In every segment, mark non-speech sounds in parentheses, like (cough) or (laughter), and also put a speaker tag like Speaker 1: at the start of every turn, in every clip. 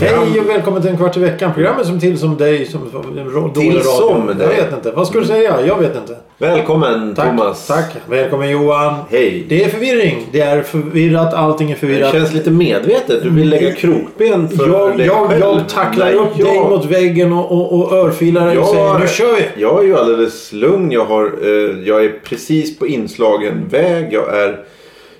Speaker 1: Hej och välkommen till en kvart i veckan. Programmet som till som dig som en ro-
Speaker 2: Till
Speaker 1: dålig radio.
Speaker 2: som
Speaker 1: Jag
Speaker 2: dig.
Speaker 1: vet inte. Vad ska du säga? Jag vet inte.
Speaker 2: Välkommen
Speaker 1: Tack.
Speaker 2: Thomas.
Speaker 1: Tack. Välkommen Johan.
Speaker 2: Hej.
Speaker 1: Det är förvirring. Det är förvirrat. Allting är
Speaker 2: Det
Speaker 1: förvirrat.
Speaker 2: känns lite medvetet. Du vill lägga krokben för
Speaker 1: Jag,
Speaker 2: dig
Speaker 1: jag,
Speaker 2: själv.
Speaker 1: jag tacklar
Speaker 2: Nej,
Speaker 1: upp
Speaker 2: jag-
Speaker 1: dig mot väggen och, och, och örfilar dig och
Speaker 2: Jag-
Speaker 1: säger nu kör vi.
Speaker 2: Jag är ju alldeles lugn. Jag, har, eh, jag är precis på inslagen väg. Jag, är,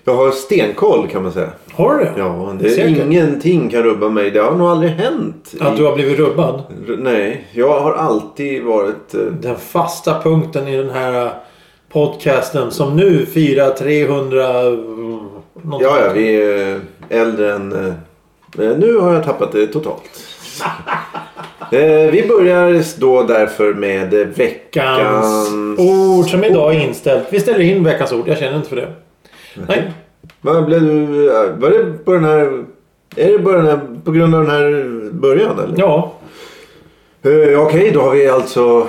Speaker 2: jag har stenkoll kan man säga.
Speaker 1: Har du det?
Speaker 2: Ja, det är
Speaker 1: Säkert.
Speaker 2: ingenting kan rubba mig. Det har nog aldrig hänt.
Speaker 1: Att du har blivit rubbad?
Speaker 2: R- Nej, jag har alltid varit... eh,
Speaker 1: Den fasta punkten i den här podcasten som nu firar 300... mm, något
Speaker 2: Ja, ja, vi är äldre än... eh, Nu har jag tappat det totalt. Eh, Vi börjar då därför med eh,
Speaker 1: Veckans
Speaker 2: veckans...
Speaker 1: ord som idag är inställt. Vi ställer in veckans ord. Jag känner inte för det. Nej.
Speaker 2: Vad blev du... eh, Var det på den här... Är det bara den här, på grund av den här början eller?
Speaker 1: Ja.
Speaker 2: Eh, Okej, då har vi alltså...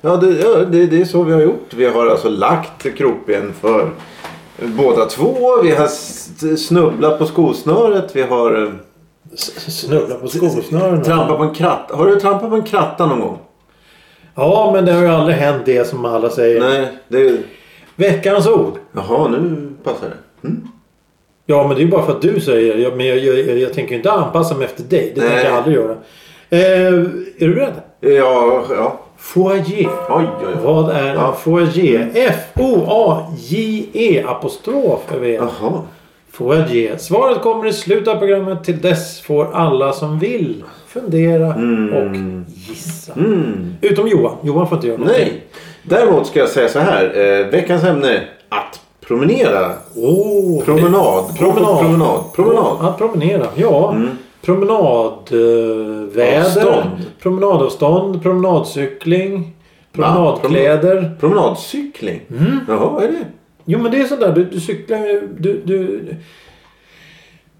Speaker 2: Ja, det, ja det, det är så vi har gjort. Vi har alltså lagt krokben för båda två. Vi har s- snubblat på skosnöret. Vi har... eh,
Speaker 1: S- Snubbla på skosnören.
Speaker 2: Trampa på en kratta. Har du trampat på en kratta någon gång?
Speaker 1: Ja, men det har ju aldrig hänt det som alla säger.
Speaker 2: Nej, det...
Speaker 1: Veckans ord.
Speaker 2: Jaha, nu passar det.
Speaker 1: Ja, men det är ju bara för att du säger det. Ja, Men jag, jag, jag, jag tänker ju inte anpassa mig efter dig. Det
Speaker 2: Nej.
Speaker 1: tänker jag aldrig göra. Eh, är du beredd?
Speaker 2: Ja, ja.
Speaker 1: Foyer.
Speaker 2: Oj, oj, oj.
Speaker 1: Vad är en
Speaker 2: Ja.
Speaker 1: foyer? F-O-A-J-E E. apostrof över E. er.
Speaker 2: Jaha.
Speaker 1: Foyer. Svaret kommer i slutet av programmet. Till dess får alla som vill fundera och gissa.
Speaker 2: Mm.
Speaker 1: Utom Johan. Johan får inte göra någonting.
Speaker 2: Nej. Däremot ska jag säga så här. Eh, veckans ämne. Att promenera.
Speaker 1: Åh,
Speaker 2: Promenad.
Speaker 1: Promenad.
Speaker 2: Promenad. Promenad. Mm.
Speaker 1: Att promenera, ja. Promenadväder.
Speaker 2: Avstånd.
Speaker 1: Promenadavstånd. Promenadcykling. Promenadkläder.
Speaker 2: Promenadcykling.
Speaker 1: Mm.
Speaker 2: Jaha, vad är det?
Speaker 1: Jo men det är sådär, du, du cyklar ju- du, du...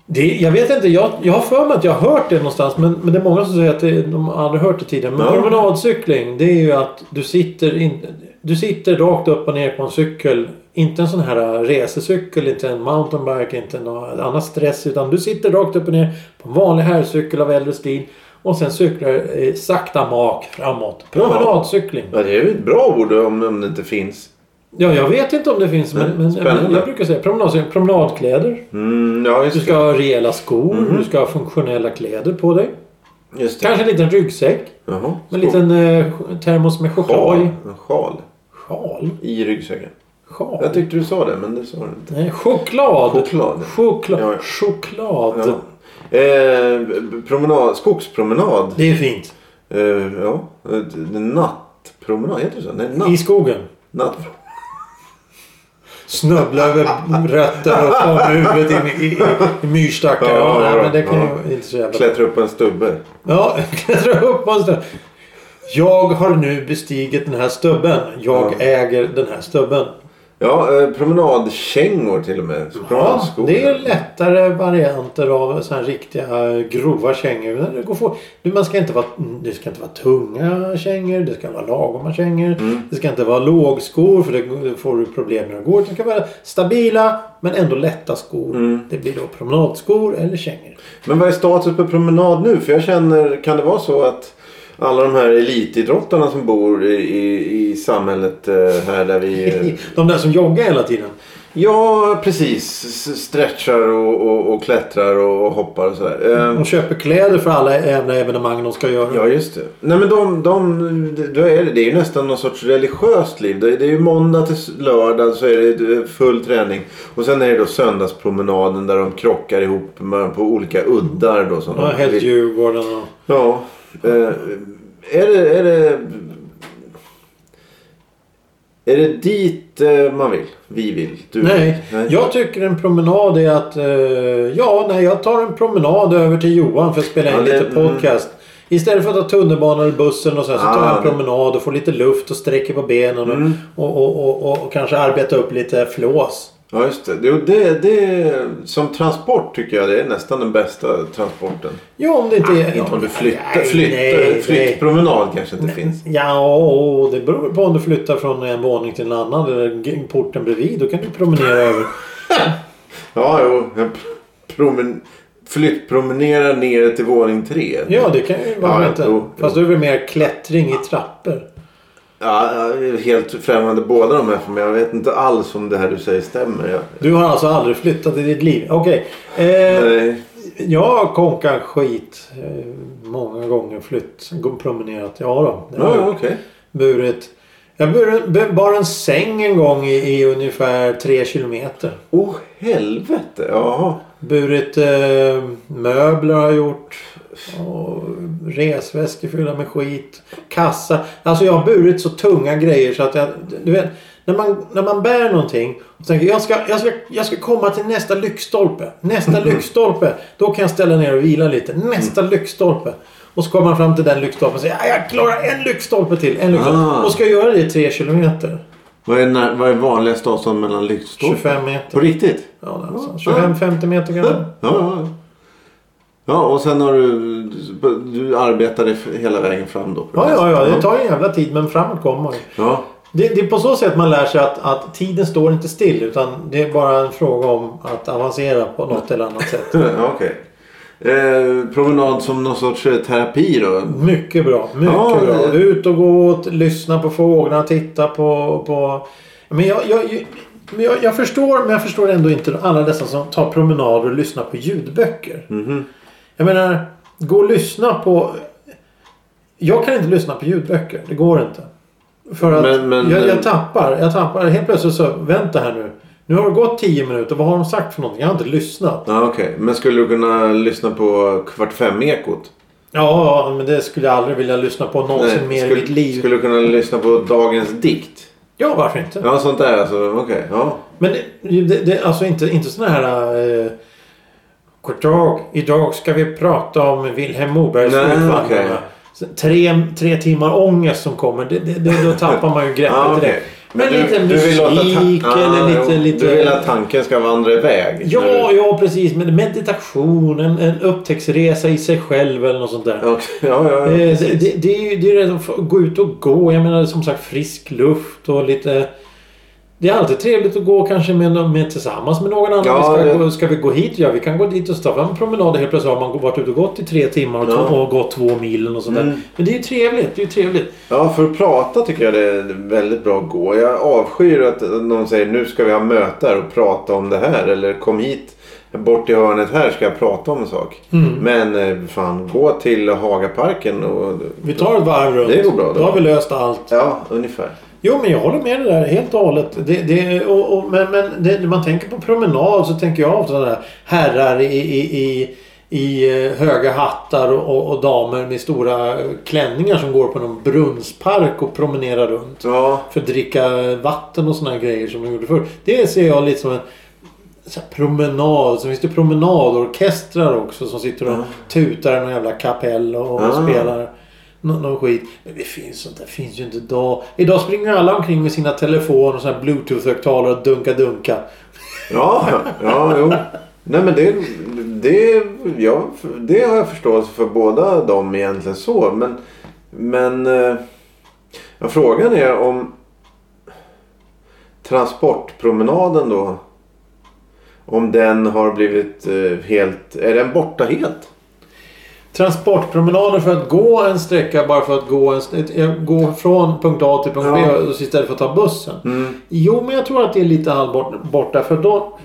Speaker 1: Det, jag vet inte, jag, jag har för mig att jag har hört det någonstans men, men det är många som säger att det, de har aldrig hört det tidigare. Men
Speaker 2: Ja.
Speaker 1: promenadcykling det är ju att du sitter, in, du sitter rakt upp och ner på en cykel. Inte en sån här racercykel, inte en mountainbike, inte någon annan stress. Utan du sitter rakt upp och ner på en vanlig herrcykel av äldre stil. Och sen cyklar eh, sakta mak framåt. Promenadcykling.
Speaker 2: Ja, det är ju ett bra ord om, om det inte finns.
Speaker 1: Ja, jag vet inte om det finns men, men,
Speaker 2: Mm, Spännande.
Speaker 1: men jag brukar säga promenad, promenadkläder.
Speaker 2: Mm, ja,
Speaker 1: Du
Speaker 2: just
Speaker 1: ska
Speaker 2: det.
Speaker 1: ha rejäla skor,
Speaker 2: Mhm.
Speaker 1: du ska ha funktionella kläder på dig.
Speaker 2: Just det.
Speaker 1: Kanske en liten ryggsäck.
Speaker 2: Jaha.
Speaker 1: En liten eh, termos med choklad i.
Speaker 2: sjal. En sjal.
Speaker 1: Sjal?
Speaker 2: I ryggsäcken.
Speaker 1: Sjal?
Speaker 2: Jag tyckte du sa det, men det sa du inte.
Speaker 1: Nej, choklad!
Speaker 2: Choklad.
Speaker 1: Choklad.
Speaker 2: Ja, ja.
Speaker 1: Choklad.
Speaker 2: Ja. Eh, promenad, skogspromenad.
Speaker 1: Det är fint.
Speaker 2: Eh, ja, eh, nattpromenad. Heter det så? Nej,
Speaker 1: I
Speaker 2: natt,
Speaker 1: skogen.
Speaker 2: natt.
Speaker 1: Snöbla över rötter och få huvudet in i, i, i myrstackar. Ja,
Speaker 2: Ja,
Speaker 1: nej,
Speaker 2: ja,
Speaker 1: men det kan
Speaker 2: ja.
Speaker 1: ju inte så jävla
Speaker 2: Klättra upp på en stubbe.
Speaker 1: Ja, (laughs) klättra upp på en stubbe. Jag har nu bestigit den här stubben. Jag
Speaker 2: Ja.
Speaker 1: äger den här stubben.
Speaker 2: Ja, eh, promenadkängor till och med.
Speaker 1: Ja,
Speaker 2: Promenadskor.
Speaker 1: det är lättare varianter av sådana här riktiga eh, grova kängor. Men Det går få... du, man ska inte vara, mm, det ska inte vara tunga kängor. Det ska vara lagoma kängor. Det ska inte vara lågskor för det får du problem med att gå. Det ska vara stabila men ändå lätta skor. Det blir då promenadskor eller kängor.
Speaker 2: Men vad är status på promenad nu? För jag känner, kan det vara så att alla de här elitidrottarna som bor i, i, i samhället eh, här där vi...
Speaker 1: (laughs)
Speaker 2: eh,
Speaker 1: De där som joggar hela tiden.
Speaker 2: Ja, precis. S- Stretchar och, och, och klättrar och hoppar och sådär. Eh,
Speaker 1: De köper kläder för alla jävla evenemang de ska göra.
Speaker 2: Ja, just det. Nej, men de, de, då är det, det är ju nästan någon sorts religiöst liv. Det är, det är ju måndag till lördag så är det eh, full träning. Och sen är det då söndagspromenaden där de krockar ihop med, på olika uddar. Då, som
Speaker 1: Ja,
Speaker 2: de
Speaker 1: helt Djurgården och...
Speaker 2: Ja. Eh, är, det, är det... Är det dit eh, man vill? Vi vill? Du
Speaker 1: Nej,
Speaker 2: vill?
Speaker 1: jag tycker en promenad är att... eh, ja, nej, jag tar en promenad över till Johan för att spela in
Speaker 2: Ja, det- mm.
Speaker 1: lite podcast. Istället för att ta tunnelbanan eller bussen och så, här, så tar jag en
Speaker 2: Ah, Mm. det-
Speaker 1: promenad och får lite luft och sträcker på benen och, och, och, och, och, kanske arbeta upp lite flås.
Speaker 2: Ja just det. Jo, det, det. Som transport tycker jag det är nästan den bästa transporten.
Speaker 1: Ja, om det inte är...
Speaker 2: Inte om du flyttar.
Speaker 1: Nej,
Speaker 2: Flytt,
Speaker 1: nej, nej.
Speaker 2: flyttpromenad kanske inte finns.
Speaker 1: Ja, och det beror på om du flyttar från en våning till en annan eller g- porten bredvid. Då kan du promenera över.
Speaker 2: Ja, jo. jag Promen, flyttpromenera ner till våning tre.
Speaker 1: Ja, det kan ju
Speaker 2: Ja,
Speaker 1: vara ja,
Speaker 2: jo,
Speaker 1: Fast då är det väl mer klättring i trappor.
Speaker 2: Ja, jag är helt främmande båda de här för mig. Jag vet inte alls om det här du säger stämmer. Jag,
Speaker 1: Du har alltså aldrig flyttat i ditt liv? Okej. Eh,
Speaker 2: nej.
Speaker 1: jag har konkat skit eh, många gånger. Flytt, gå- promenerat. Ja då. det har
Speaker 2: Ja,
Speaker 1: jag
Speaker 2: ja,
Speaker 1: gjort.
Speaker 2: okej.
Speaker 1: Burit. Jag bur, bu- bar en säng en gång i, i ungefär tre kilometer.
Speaker 2: Åh helvete. Jaha.
Speaker 1: Burit eh, möbler har jag gjort. Och resväskor fyllda med skit. Kassa. Alltså jag har burit så tunga grejer så att jag... Du vet, när man, när man bär någonting och tänker jag ska, jag, ska, jag ska komma till nästa lyktstolpe.
Speaker 2: (laughs)
Speaker 1: Nästa lyktstolpe. Då kan jag ställa ner och vila lite. Nästa
Speaker 2: Mm.
Speaker 1: lyktstolpe. Och så kommer man fram till den lyktstolpen och säger "Ja, jag klarar en lyktstolpe till. En lyktstolpe.
Speaker 2: Ah.
Speaker 1: Och ska göra det i tre kilometer.
Speaker 2: Vad är, när, vad är vanligaste avstånd mellan lyktstolpar?
Speaker 1: 25
Speaker 2: På
Speaker 1: meter.
Speaker 2: riktigt?
Speaker 1: Ja, alltså, 25-50 meter kanske.
Speaker 2: Ja, ja. ja, och sen har du... Du arbetade hela vägen fram då? på
Speaker 1: Ja,
Speaker 2: det
Speaker 1: ja, ja.
Speaker 2: här.
Speaker 1: Det tar en jävla tid men framåt kommer man ju.
Speaker 2: Ja.
Speaker 1: Det, det är på så sätt man lär sig att, att tiden står inte still utan det är bara en fråga om att avancera på något eller annat sätt.
Speaker 2: (laughs) Ja, Okej. Eh, promenad som någon sorts eh, terapi då?
Speaker 1: Mycket bra. Mycket
Speaker 2: Ja, det-
Speaker 1: bra. Ut och gå, t- lyssna på fåglarna, titta på... på... Men jag, jag, men jag, jag förstår men jag förstår ändå inte alla dessa som tar promenader och lyssnar på ljudböcker.
Speaker 2: Mhm.
Speaker 1: Jag menar, gå och lyssna på... Jag kan inte lyssna på ljudböcker. Det går inte. För att
Speaker 2: Men- men-
Speaker 1: jag, jag tappar. Jag tappar. Helt plötsligt så, vänta här nu. Nu har det gått tio minuter. Vad har de sagt för någonting? Jag har inte lyssnat.
Speaker 2: Ja, Okej, men skulle du kunna lyssna på Kvart fem-ekot?
Speaker 1: Ja, men det skulle jag aldrig vilja lyssna på någonsin mer
Speaker 2: skulle,
Speaker 1: i mitt liv.
Speaker 2: skulle du kunna lyssna på Dagens dikt?
Speaker 1: Ja, varför inte?
Speaker 2: Ja, sånt där alltså. Okej, ja.
Speaker 1: Men det, det, det, alltså inte, inte sådana här... Eh, God dag, idag ska vi prata om Vilhelm Mobergs
Speaker 2: Nej,
Speaker 1: utvandrarna.
Speaker 2: okej.
Speaker 1: Så Tre, tre timmar ångest som kommer. Det, det, det, då tappar man ju greppet
Speaker 2: (laughs) Ja,
Speaker 1: direkt.
Speaker 2: okej.
Speaker 1: Men, lite
Speaker 2: vill låta ta-
Speaker 1: musik
Speaker 2: Ah,
Speaker 1: eller lite...
Speaker 2: jo.
Speaker 1: lite
Speaker 2: Du vill att tanken ska vandra iväg? när
Speaker 1: Ja,
Speaker 2: du...
Speaker 1: ja precis. Men meditation, en, en upptäcktsresa i sig själv eller något sånt där.
Speaker 2: ja. okej. Ja, ja, ja.
Speaker 1: Eh, Det, det, det är ju det är redan för att gå ut och gå. Jag menar som sagt frisk luft och lite... Det är alltid trevligt att gå kanske med, någon- med, tillsammans med någon annan.
Speaker 2: Ja,
Speaker 1: ska,
Speaker 2: det-
Speaker 1: gå, ska vi gå hit? Ja, vi kan gå dit och starta en promenad. och Helt plötsligt har man varit ute och gått i tre timmar och,
Speaker 2: Ja.
Speaker 1: två, och gått två mil och sånt där.
Speaker 2: Mm.
Speaker 1: Men det är ju trevligt. Det är ju trevligt.
Speaker 2: Ja, för att prata tycker jag det är väldigt bra att gå. Jag avskyr att någon säger nu ska vi ha möte här och prata om det här. Eller kom hit bort i hörnet här ska jag prata om en sak. Men eh, fan, gå till Hagaparken och...
Speaker 1: Vi tar ett varv runt.
Speaker 2: Det går bra då.
Speaker 1: då har vi löst allt.
Speaker 2: Ja, ungefär.
Speaker 1: Jo, men jag håller med dig där helt och hållet. Det, det, och, och, men men det, när man tänker på promenad så tänker jag ofta sådana här herrar i, i, i, i eh, höga hattar och, och, och damer med stora eh, klänningar som går på någon brunnspark och promenerar runt.
Speaker 2: Ja,
Speaker 1: För att dricka vatten och sådana grejer som de gjorde förr. Det ser jag lite som en så här promenad. Sen finns det promenadorkestrar också som sitter och tutar i någon jävla kapell och
Speaker 2: Ah.
Speaker 1: spelar nå- någon skit. Men det finns sånt där finns ju inte idag. Idag springer alla omkring med sina telefoner och såna här bluetooth-högtalare och dunka-dunka.
Speaker 2: ja, ja, jo. Nej men det, det, ja, det har jag förståelse för båda dem egentligen så. Men, men eh, ja, frågan är om transportpromenaden då. Om den har blivit eh, helt, är den borta helt?
Speaker 1: Transportpromenader för att gå en sträcka bara för att gå, en, st- eh, gå från punkt A till punkt B
Speaker 2: Ja.
Speaker 1: och istället för att ta bussen.
Speaker 2: Mm.
Speaker 1: Jo, men jag tror att det är lite halvbort borta. För då,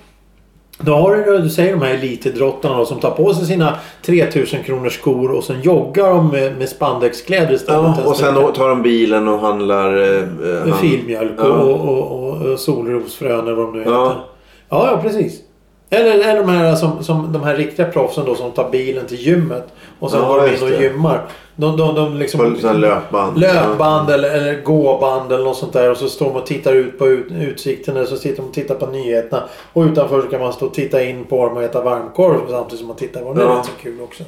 Speaker 1: då har du, du säger de här elitidrottarna då, som tar på sig sina 3000 kronors skor och sen joggar de med, med spandexkläder istället.
Speaker 2: Ja, och sen
Speaker 1: och,
Speaker 2: tar de bilen och handlar... eh, eh, hand-
Speaker 1: filmjölk och,
Speaker 2: Ja.
Speaker 1: och, och, och solrosfrön eller vad de nu heter.
Speaker 2: Ja.
Speaker 1: Ja, ja precis. Eller, eller de här som, som de här riktiga proffsen då som tar bilen till gymmet. Och sen
Speaker 2: Ja,
Speaker 1: går de in
Speaker 2: just
Speaker 1: och
Speaker 2: det.
Speaker 1: gymmar. De, de, de liksom...
Speaker 2: På sådana här löpband.
Speaker 1: Löpband eller, eller gåband eller något sånt där. Och så står de och tittar ut på ut, utsikten. Eller så sitter de och tittar på nyheterna. Och utanför så kan man stå och titta in på dem och äta varmkorv. Samtidigt som man tittar på dem. Det är
Speaker 2: Ja.
Speaker 1: rätt så kul också.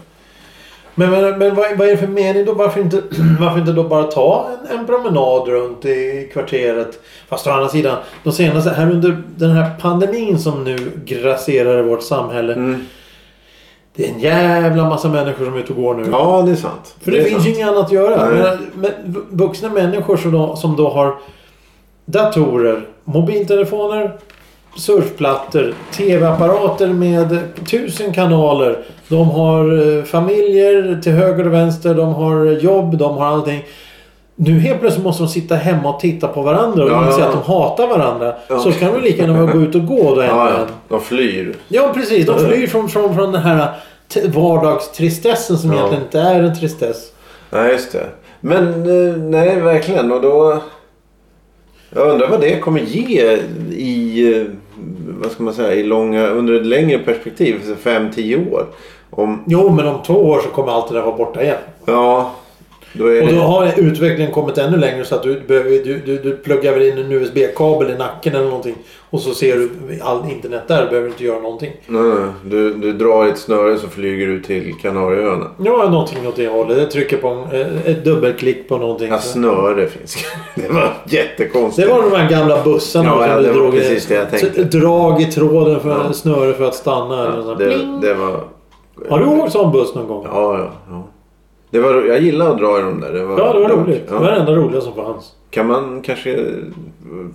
Speaker 1: Men, men, men vad, vad är det för mening då? Varför inte, (clears throat) varför inte då bara ta en, en promenad runt i kvarteret? Fast å andra sidan, de senaste, här under den här pandemin som nu grasserar i vårt samhälle.
Speaker 2: Mm.
Speaker 1: Det är en jävla massa människor som är ute och går nu.
Speaker 2: Ja, det är sant.
Speaker 1: För det,
Speaker 2: är
Speaker 1: finns ju
Speaker 2: sant.
Speaker 1: inget annat att göra.
Speaker 2: Nej.
Speaker 1: Jag menar, Men, v- vuxna människor som då, som då har datorer, mobiltelefoner, surfplattor, tv-apparater med tusen kanaler. De har eh, familjer till höger och vänster, de har jobb, de har allting. Nu helt plötsligt måste de sitta hemma och titta på varandra och
Speaker 2: Ja, ja,
Speaker 1: inse
Speaker 2: ja.
Speaker 1: att de hatar varandra.
Speaker 2: Ja.
Speaker 1: Så kan de lika gärna bara gå ut och gå då en och
Speaker 2: Ja,
Speaker 1: en.
Speaker 2: ja. De flyr.
Speaker 1: Ja, precis. De flyr från, från, från den här eh, t- vardagstristessen som
Speaker 2: Ja.
Speaker 1: egentligen inte är en tristess.
Speaker 2: Nej, just det. Men eh, nej, verkligen. Och då... Jag undrar vad det kommer ge i, eh, vad ska man säga, i långa, under ett längre perspektiv. 5-10 år. Om,
Speaker 1: Jo, men om två år så kommer allt det där vara borta igen.
Speaker 2: ja, då är
Speaker 1: Och då
Speaker 2: det...
Speaker 1: har utvecklingen kommit ännu längre så att du, behöver, du, du, du pluggar väl in en USB-kabel i nacken eller någonting. Och så ser du all internet där. behöver inte göra någonting.
Speaker 2: Nej, du, du drar i ett snöre så flyger du till Kanarieöarna.
Speaker 1: Ja, någonting åt det hållet. Jag trycker på en, eh, ett dubbelklick på någonting.
Speaker 2: Ja, snöre finns. (laughs) Det var jättekonstigt.
Speaker 1: Det var de här gamla bussarna
Speaker 2: Ja,
Speaker 1: som
Speaker 2: ja,
Speaker 1: du
Speaker 2: det var
Speaker 1: drog i-
Speaker 2: precis det jag tänkte.
Speaker 1: ett Drag i tråden för
Speaker 2: Ja.
Speaker 1: snöre för att stanna. eller så. här,
Speaker 2: Ja, det,
Speaker 1: pling.
Speaker 2: det var...
Speaker 1: Har du åkt sån buss någon gång?
Speaker 2: Ja, ja. ja. Det var, jag gillar att dra i de där. Det var,
Speaker 1: Ja, det var roligt.
Speaker 2: Ja.
Speaker 1: Det var det enda roliga som fanns.
Speaker 2: Kan man kanske...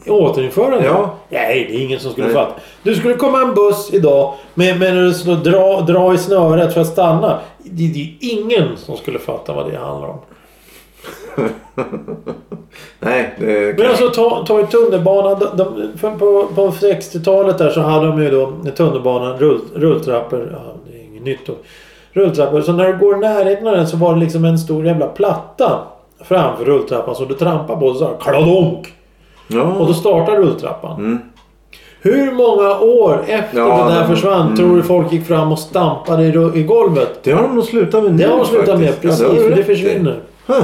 Speaker 1: Återinföra det?
Speaker 2: Ja.
Speaker 1: Nej, det är ingen som skulle
Speaker 2: Nej.
Speaker 1: fatta. Du skulle komma en buss idag med, med när du skulle dra, dra i snöret för att stanna. Det, det är ingen som skulle fatta vad det handlar om.
Speaker 2: Nej, det
Speaker 1: Men
Speaker 2: kan...
Speaker 1: alltså ta, ta i tunnelbanan. De, de, för- på, på 60-talet där så hade de ju då i tunnelbanan rull, rulltrappor. Ja, det är inget nytt då. Rulltrappor. Så när du går i närheten av den så var det liksom en stor jävla platta framför rulltrappan som du trampade på. Och så sa det kladonk.
Speaker 2: Ja.
Speaker 1: Och då startar rulltrappan.
Speaker 2: Mm.
Speaker 1: Hur många år efter
Speaker 2: Ja,
Speaker 1: det där
Speaker 2: men-
Speaker 1: försvann
Speaker 2: mm.
Speaker 1: tror du folk gick fram och stampade i, ru- i golvet?
Speaker 2: Det har de nog slutat med nu
Speaker 1: Det har de slutat med.
Speaker 2: Mm, faktiskt.
Speaker 1: Precis,
Speaker 2: Ja, har du
Speaker 1: för det
Speaker 2: rätt i.
Speaker 1: försvinner.
Speaker 2: Huh.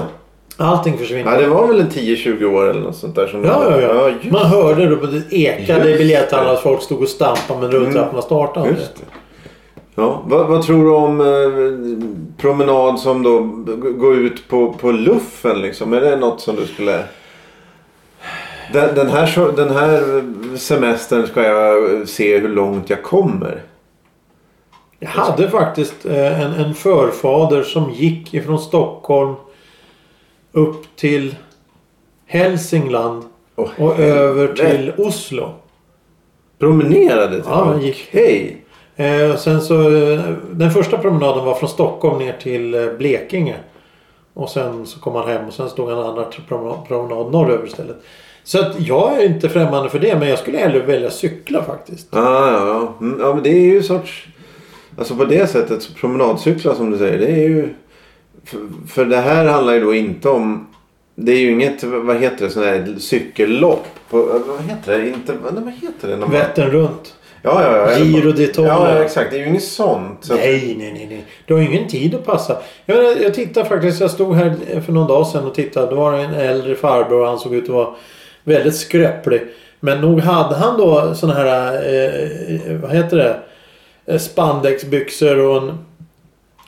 Speaker 1: Allting försvinner.
Speaker 2: Ja, det var väl en 10-20 år eller något sånt där. Som
Speaker 1: Ja, ja, ja.
Speaker 2: just,
Speaker 1: Man hörde det på det ekade i
Speaker 2: Just
Speaker 1: biljetthandlar
Speaker 2: det. Mm.
Speaker 1: att folk stod och stampade men rulltrapporna startade aldrig.
Speaker 2: just det. Ja, vad, vad tror du om eh, promenad som då g- går ut på, på luffen liksom? Är det något som du skulle... Den, den, här, so- den här semestern ska jag se hur långt jag kommer.
Speaker 1: Jag hade faktiskt eh, en, en förfader som gick ifrån Stockholm upp till Hälsingland
Speaker 2: Åh,
Speaker 1: och över till Oslo.
Speaker 2: Promenerade till
Speaker 1: Ja, han gick.
Speaker 2: Hej!
Speaker 1: Eh, och sen så, eh, den första promenaden var från Stockholm ner till eh, Blekinge. Och sen så kom han hem och sen stod han en andra tr- promenad, promenad norröver istället. Så att jag är inte främmande för det men jag skulle hellre välja cykla faktiskt.
Speaker 2: Ah, ja, ja. Mm, ja, men det är ju sorts... Alltså på det sättet, så promenadcyklar som du säger, det är ju... För, för det här handlar ju då inte om... Det är ju inget, vad heter det, sån här cykellopp. På, vad heter det? Inte, vad vad heter det? när man-
Speaker 1: Vättern runt.
Speaker 2: Ja, ja, ja.
Speaker 1: Giro d'Italia.
Speaker 2: Ja, ja, exakt. Det är ju inget sånt. Så att-
Speaker 1: Nej, nej, nej, nej. Du har ju ingen tid att passa. Jag, menar, jag tittade faktiskt, jag stod här för någon dag sedan och tittade. Då var det en äldre farbror och han såg ut att vara väldigt skröplig. Men nog hade han då såna här, eh, vad heter det, Eh, spandexbyxor och en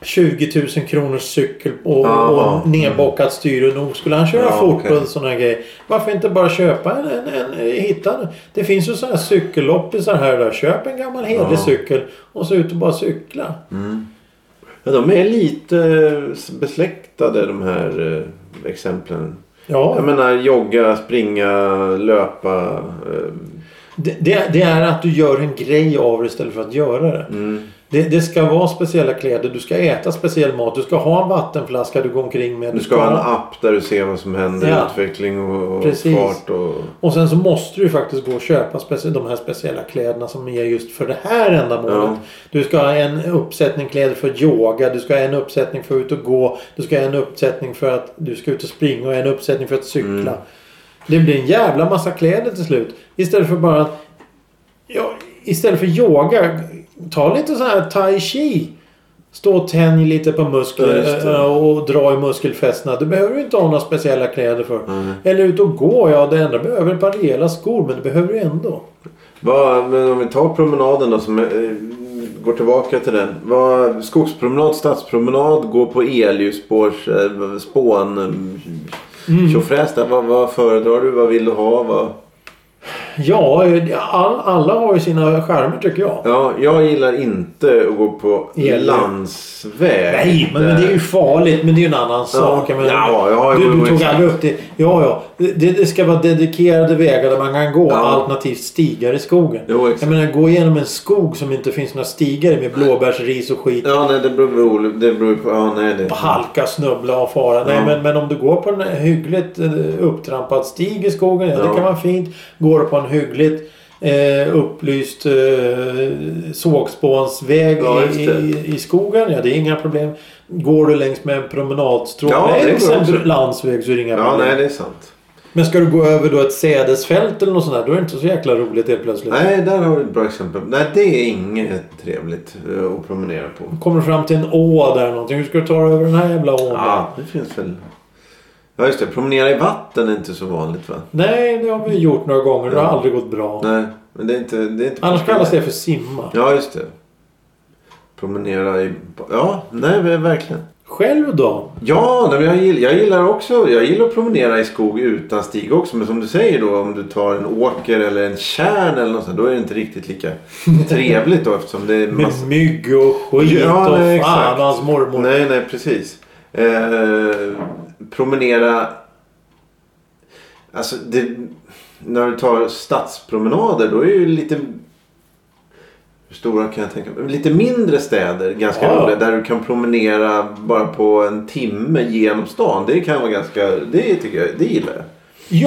Speaker 1: 20 000 kronors cykel och,
Speaker 2: Aha.
Speaker 1: och nedbockat styre. Nog skulle han köra
Speaker 2: Ja,
Speaker 1: fort på
Speaker 2: okej.
Speaker 1: en sån här grej. Varför inte bara köpa en, en, en eh, hitta en. Det finns ju såna här cykelloppisar här och där. Köp en gammal hederlig
Speaker 2: Ja.
Speaker 1: cykel och så ut och bara cykla.
Speaker 2: Ja, de är lite eh, besläktade de här eh, exemplen.
Speaker 1: Ja,
Speaker 2: Jag menar jogga, springa, löpa. eh,
Speaker 1: det, det, det är att du gör en grej av det istället för att göra det.
Speaker 2: Mm.
Speaker 1: Det, det ska vara speciella kläder, du ska äta speciell mat, du ska ha en vattenflaska du går omkring med.
Speaker 2: Du ska ha en app där du ser vad som händer.
Speaker 1: Ja.
Speaker 2: Utveckling och och
Speaker 1: Precis.
Speaker 2: fart och...
Speaker 1: Och sen så måste du ju faktiskt gå och köpa specie- de här speciella kläderna som är just för det här ändamålet.
Speaker 2: Ja.
Speaker 1: Du ska ha en uppsättning kläder för yoga, du ska ha en uppsättning för att ut och gå, du ska ha en uppsättning för att du ska ut och springa och en uppsättning för att cykla. Det blir en jävla massa kläder till slut. Istället för bara att... Ja, istället för yoga, ta lite sån här tai chi. Stå och tänj lite på
Speaker 2: Ja,
Speaker 1: muskler
Speaker 2: just det.
Speaker 1: eh, och dra i muskelfästena. Det behöver du inte ha några speciella kläder för. Eller ut och gå, ja det enda du behöver är ett par rejäla skor men det behöver du ändå.
Speaker 2: Vad, men om vi tar promenaden då som... eh, går tillbaka till den. Vad, skogspromenad, stadspromenad, gå på elljusspårs, eh, spån, mm. tjofräs där. Vad, vad föredrar du? Vad vill du ha? Vad...
Speaker 1: Ja, eh, all, alla har ju sina skärmar tycker jag.
Speaker 2: Ja, jag gillar inte att gå på
Speaker 1: Elljus.
Speaker 2: landsväg.
Speaker 1: Nej, men, men det är ju farligt. Men det är ju en annan sak. Jag menar,
Speaker 2: Ja, jag har ju
Speaker 1: du, du
Speaker 2: varit-
Speaker 1: tog aldrig upp det. Ja, ja. Det, det ska vara dedikerade vägar där man kan gå.
Speaker 2: Ja.
Speaker 1: Alternativt stigar i skogen.
Speaker 2: Jo, exakt.
Speaker 1: jag menar, gå igenom en skog som inte finns några stigar i med blåbärsris och skit.
Speaker 2: Ja, nej, det beror på... Det beror på ja, nej, det...
Speaker 1: Halka, snubbla och fara. Nej,
Speaker 2: Ja.
Speaker 1: men, men om du går på en hyggligt eh, upptrampad stig i skogen, ja, det
Speaker 2: Ja.
Speaker 1: kan vara fint. Går du på en hyggligt eh, upplyst eh, sågspånsväg
Speaker 2: Ja, just
Speaker 1: i,
Speaker 2: det.
Speaker 1: i, i skogen, ja det är inga problem. Går du längs med en promenadstråk,
Speaker 2: Ja, det
Speaker 1: ja,
Speaker 2: går
Speaker 1: exempel
Speaker 2: också.
Speaker 1: landsväg så är det inga
Speaker 2: Ja,
Speaker 1: problem.
Speaker 2: nej, det är sant.
Speaker 1: Men ska du gå över då ett sädesfält eller något sånt där, då är det inte så jäkla roligt helt plötsligt.
Speaker 2: Nej, där har du ett bra exempel. Nej, det är inget trevligt eh, att promenera på.
Speaker 1: Kommer du fram till en å där eller någonting, hur ska du ta dig över den här jävla ån?
Speaker 2: Ja, det finns väl... Ja, just det. Promenera i vatten är inte så vanligt, va?
Speaker 1: Nej, det har vi gjort några gånger. Det har aldrig gått bra.
Speaker 2: Nej, men det är inte... Det är inte
Speaker 1: Annars kallas det för simma.
Speaker 2: Ja, just det. Promenera i... Ja, nej, men verkligen.
Speaker 1: Själv då?
Speaker 2: Ja, nej, men jag, gillar, jag gillar också... Jag gillar att promenera i skog utan stig också. Men som du säger då, om du tar en åker eller en tjärn eller något sånt, då är det inte riktigt lika trevligt då eftersom det är
Speaker 1: Med
Speaker 2: massa...
Speaker 1: mygg och skit
Speaker 2: Ja,
Speaker 1: och
Speaker 2: nej,
Speaker 1: fan
Speaker 2: exakt.
Speaker 1: och hans mormor.
Speaker 2: Nej, nej, precis. Eh, promenera... Alltså, det, när du tar stadspromenader då är ju lite... Hur stora kan jag tänka mig? Lite mindre städer ganska
Speaker 1: Ja.
Speaker 2: roliga. Där du kan promenera bara på en timme genom stan. Det kan vara ganska... Det tycker jag... Det gillar jag.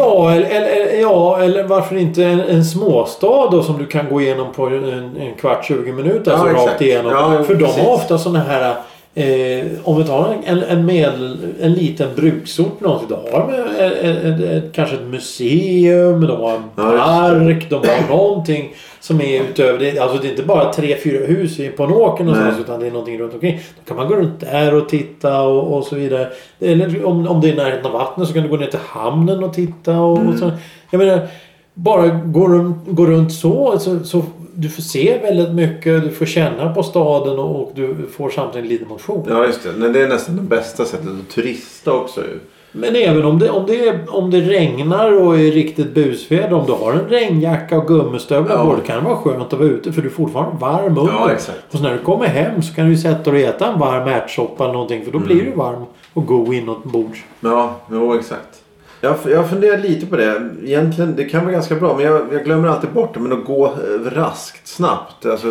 Speaker 1: Ja, eller, eller, ja, eller varför inte en, en småstad då som du kan gå igenom på en, en kvart, 20 minuter.
Speaker 2: Ja,
Speaker 1: Alltså rakt
Speaker 2: exakt.
Speaker 1: igenom.
Speaker 2: Ja, jo,
Speaker 1: För de
Speaker 2: precis.
Speaker 1: har ofta sådana här... Eh, om vi tar en, en, medel, en liten bruksort någonstans. Då har de eh, eh, eh, kanske ett museum, de har en
Speaker 2: Ja, just det.
Speaker 1: park, de har någonting som är utöver det. Alltså det är inte bara tre, fyra hus på en åker någonstans
Speaker 2: Nej.
Speaker 1: utan det är någonting runt omkring. Då kan man gå runt där och titta och, och så vidare. Eller om, om det är i närheten av vattnet så kan du gå ner till hamnen och titta och, och
Speaker 2: Mm.
Speaker 1: så. Jag menar, bara gå runt, gå runt så, så, så du får se väldigt mycket, du får känna på staden och, och du får samtidigt lite motion.
Speaker 2: Ja, just det. Nej, det är nästan det bästa sättet att turista också ju.
Speaker 1: Men även om det, om, det, är- om det regnar och är riktigt busväder. Om du har en regnjacka och gummistövlar
Speaker 2: Ja.
Speaker 1: på dig kan det vara skönt att vara ute för du är fortfarande varm under.
Speaker 2: Ja, exakt.
Speaker 1: Och så när du kommer hem så kan du ju sätta dig och äta en varm ärtsoppa eller någonting för då blir du varm och god inombords.
Speaker 2: Ja, jo exakt. Jag, jag funderar lite på det. Egentligen, det kan vara ganska bra. Men jag, jag glömmer alltid bort det. Men att gå eh, raskt, snabbt. Alltså,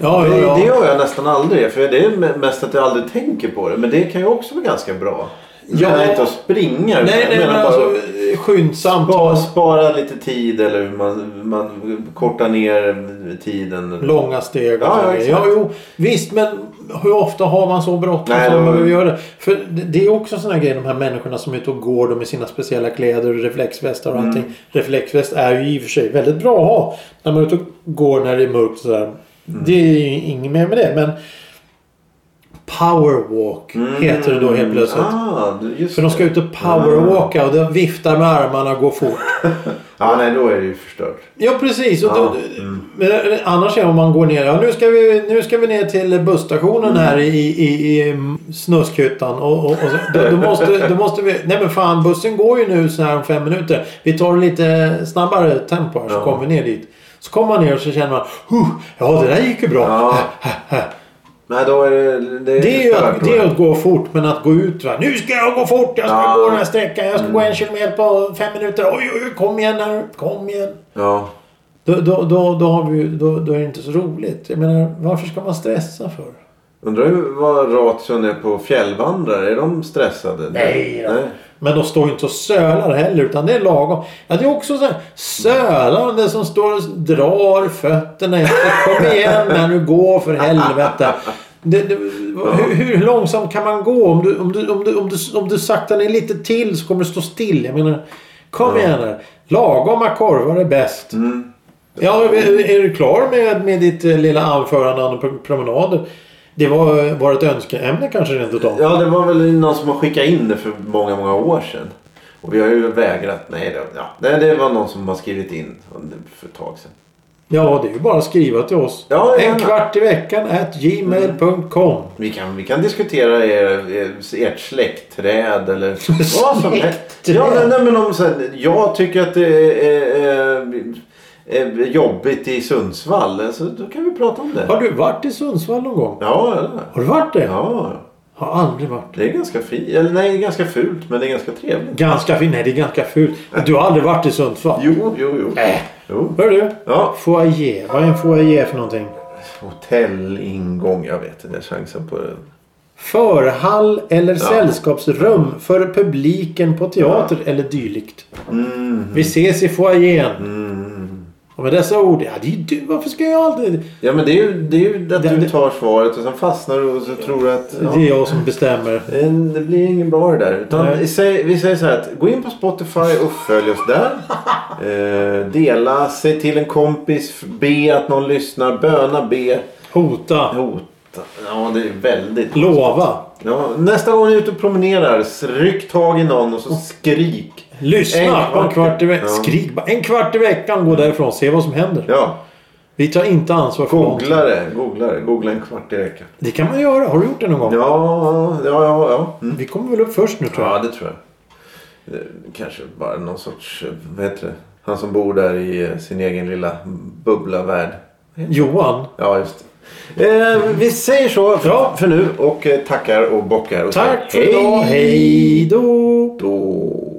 Speaker 1: Ja,
Speaker 2: det,
Speaker 1: ja, ja.
Speaker 2: det gör jag nästan aldrig. För det är me- mest att jag aldrig tänker på det. Men det kan ju också vara ganska bra. Jag
Speaker 1: Ja.
Speaker 2: menar inte att springa. utan
Speaker 1: Nej,
Speaker 2: jag
Speaker 1: nej,
Speaker 2: menar
Speaker 1: men
Speaker 2: bara
Speaker 1: alltså
Speaker 2: att
Speaker 1: skyndsamt.
Speaker 2: spara, spara lite tid. Eller hur man, man kortar ner tiden.
Speaker 1: Långa steg. och
Speaker 2: Ja,
Speaker 1: så
Speaker 2: ja,
Speaker 1: vidare.
Speaker 2: exakt.
Speaker 1: ja, jo, visst, men hur ofta har man så bråttom
Speaker 2: Nej,
Speaker 1: som
Speaker 2: det
Speaker 1: man
Speaker 2: var-
Speaker 1: behöver göra det? För det- det är också såna grejer, de här människorna som är ute och går då med sina speciella kläder och reflexvästar
Speaker 2: Mm.
Speaker 1: och allting. Reflexväst är ju i och för sig väldigt bra att ha när man är ute och går när det är mörkt och sådär.
Speaker 2: Mm.
Speaker 1: Det är ju inget mer med det, men Powerwalk heter det då helt plötsligt.
Speaker 2: Mm. Ah, du- just
Speaker 1: För de ska
Speaker 2: det.
Speaker 1: ut och powerwalka och de viftar med armarna och går fort.
Speaker 2: Ja, nej då är det ju förstört.
Speaker 1: Ja precis. Och
Speaker 2: Ja,
Speaker 1: Då, men eh, annars är om man går ner. Ja, nu, ska vi, nu ska vi ner till busstationen
Speaker 2: Mm.
Speaker 1: här i, i, i Snuskyttan. Och, och, och så, då, då, måste, då måste vi... Nej men fan bussen går ju nu så här om fem minuter. Vi tar lite snabbare tempo här så
Speaker 2: Ja.
Speaker 1: kommer vi ner dit. Så kommer man ner och så känner man huh, ja det där gick ju bra. (laughs)
Speaker 2: Ja. Nej, då är det... Det är,
Speaker 1: Det är ju
Speaker 2: förstört
Speaker 1: att,
Speaker 2: då.
Speaker 1: det är att gå fort men att gå ut va. Nu ska jag gå fort. Jag ska
Speaker 2: Ja. Mm.
Speaker 1: gå den här sträckan. Jag ska gå en kilometer på fem minuter. Oj oj oj kom igen nu. Kom igen.
Speaker 2: Ja.
Speaker 1: Då, då, då, då, har vi, ju- då, då är det inte så roligt. Jag menar, varför ska man stressa för?
Speaker 2: Undrar hur- vad ration är på fjällvandrare. Är de stressade?
Speaker 1: Nej då. Men de står ju inte och sölar heller utan det är lagom. Ja, det är också så här sölande som står och drar fötterna efter. Kom igen när du går för helvete. Det, det, hur, hur långsamt kan man gå? Om du, om, du, om, du, om, du, om du saktar ner lite till så kommer du stå still. Jag menar, kom igen nu. Lagoma korvar är bäst. Ja, är är du klar med, med ditt eh, lilla anförande om pro- promenader? Det var, var ett önskeämne kanske rent utav.
Speaker 2: Ja, det var väl någon som har skickat in det för många, många år sedan. Och vi har ju vägrat. Nej, det, ja. Nej, det var någon som har skrivit in om det för ett tag sedan.
Speaker 1: Ja, det är ju bara att skriva till oss.
Speaker 2: Ja,
Speaker 1: en
Speaker 2: gärna. Mm.
Speaker 1: kvart i veckan at gmail.com.
Speaker 2: Vi kan, vi kan diskutera er, er- ert släktträd eller
Speaker 1: (laughs)
Speaker 2: vad som helst.
Speaker 1: Släktträd?
Speaker 2: Ja, nej, nej, men om, så här, jag tycker att det är, är, är jobbigt i Sundsvall. Alltså, då kan vi prata om det. Ja,
Speaker 1: Har du varit i Sundsvall någon gång?
Speaker 2: ja,
Speaker 1: Har du varit det?
Speaker 2: ja.
Speaker 1: Har aldrig varit.
Speaker 2: Det är ganska fint. Eller nej, ganska fult men det är ganska trevligt.
Speaker 1: Ganska fint. Nej, det är ganska fult. Du har aldrig varit i Sundsvall?
Speaker 2: Jo, jo, jo.
Speaker 1: Äh.
Speaker 2: jo.
Speaker 1: Hör du?
Speaker 2: Ja.
Speaker 1: Foyer. Vad är en foyer för någonting?
Speaker 2: Hotellingång, jag vet inte. Jag chansar på det.
Speaker 1: Förhall eller sällskapsrum för publiken på teater eller dylikt.
Speaker 2: Mm.
Speaker 1: Vi ses i foajén. Och med dessa ord. Ja, det är du. Varför ska jag alltid...
Speaker 2: Ja, men det är ju, det är ju att
Speaker 1: Det-
Speaker 2: du
Speaker 1: det-
Speaker 2: tar svaret och sen fastnar du och så tror du att... ja.
Speaker 1: Det är jag som bestämmer.
Speaker 2: Men Det blir ingen bra det där. Utan
Speaker 1: Nej.
Speaker 2: vi, säger, vi säger så här att gå in på Spotify och följ oss
Speaker 1: (laughs)
Speaker 2: där. Eh, dela, säg till en kompis, be att någon lyssnar, böna, be,
Speaker 1: Hota.
Speaker 2: hota. Ja, det är väldigt...
Speaker 1: Lova.
Speaker 2: Ja, nästa gång ni är ute och promenerar, ryck tag i någon och så skrik. En
Speaker 1: Lyssna
Speaker 2: kvart-
Speaker 1: på en kvart i veckan.
Speaker 2: Ja.
Speaker 1: Skrik bara. En kvart i veckan. Gå därifrån. Se vad som händer.
Speaker 2: Ja,
Speaker 1: Vi tar inte ansvar för någonting.
Speaker 2: googla det. Googla det. Googla en kvart i veckan.
Speaker 1: Det kan man göra. Har du gjort det någon gång?
Speaker 2: Ja, ja, ja. ja. Mm.
Speaker 1: Vi kommer väl upp först nu tror jag.
Speaker 2: Ja, det tror jag. Eh, Kanske bara någon sorts, eh, vad heter det? Han som bor där i eh, sin egen lilla bubbla-värld.
Speaker 1: Johan.
Speaker 2: Ja, just det. Eh, vi säger så för,
Speaker 1: Ja.
Speaker 2: för nu och eh, tackar och bockar. Och
Speaker 1: Tack för
Speaker 2: säger
Speaker 1: idag. Hej då.
Speaker 2: då.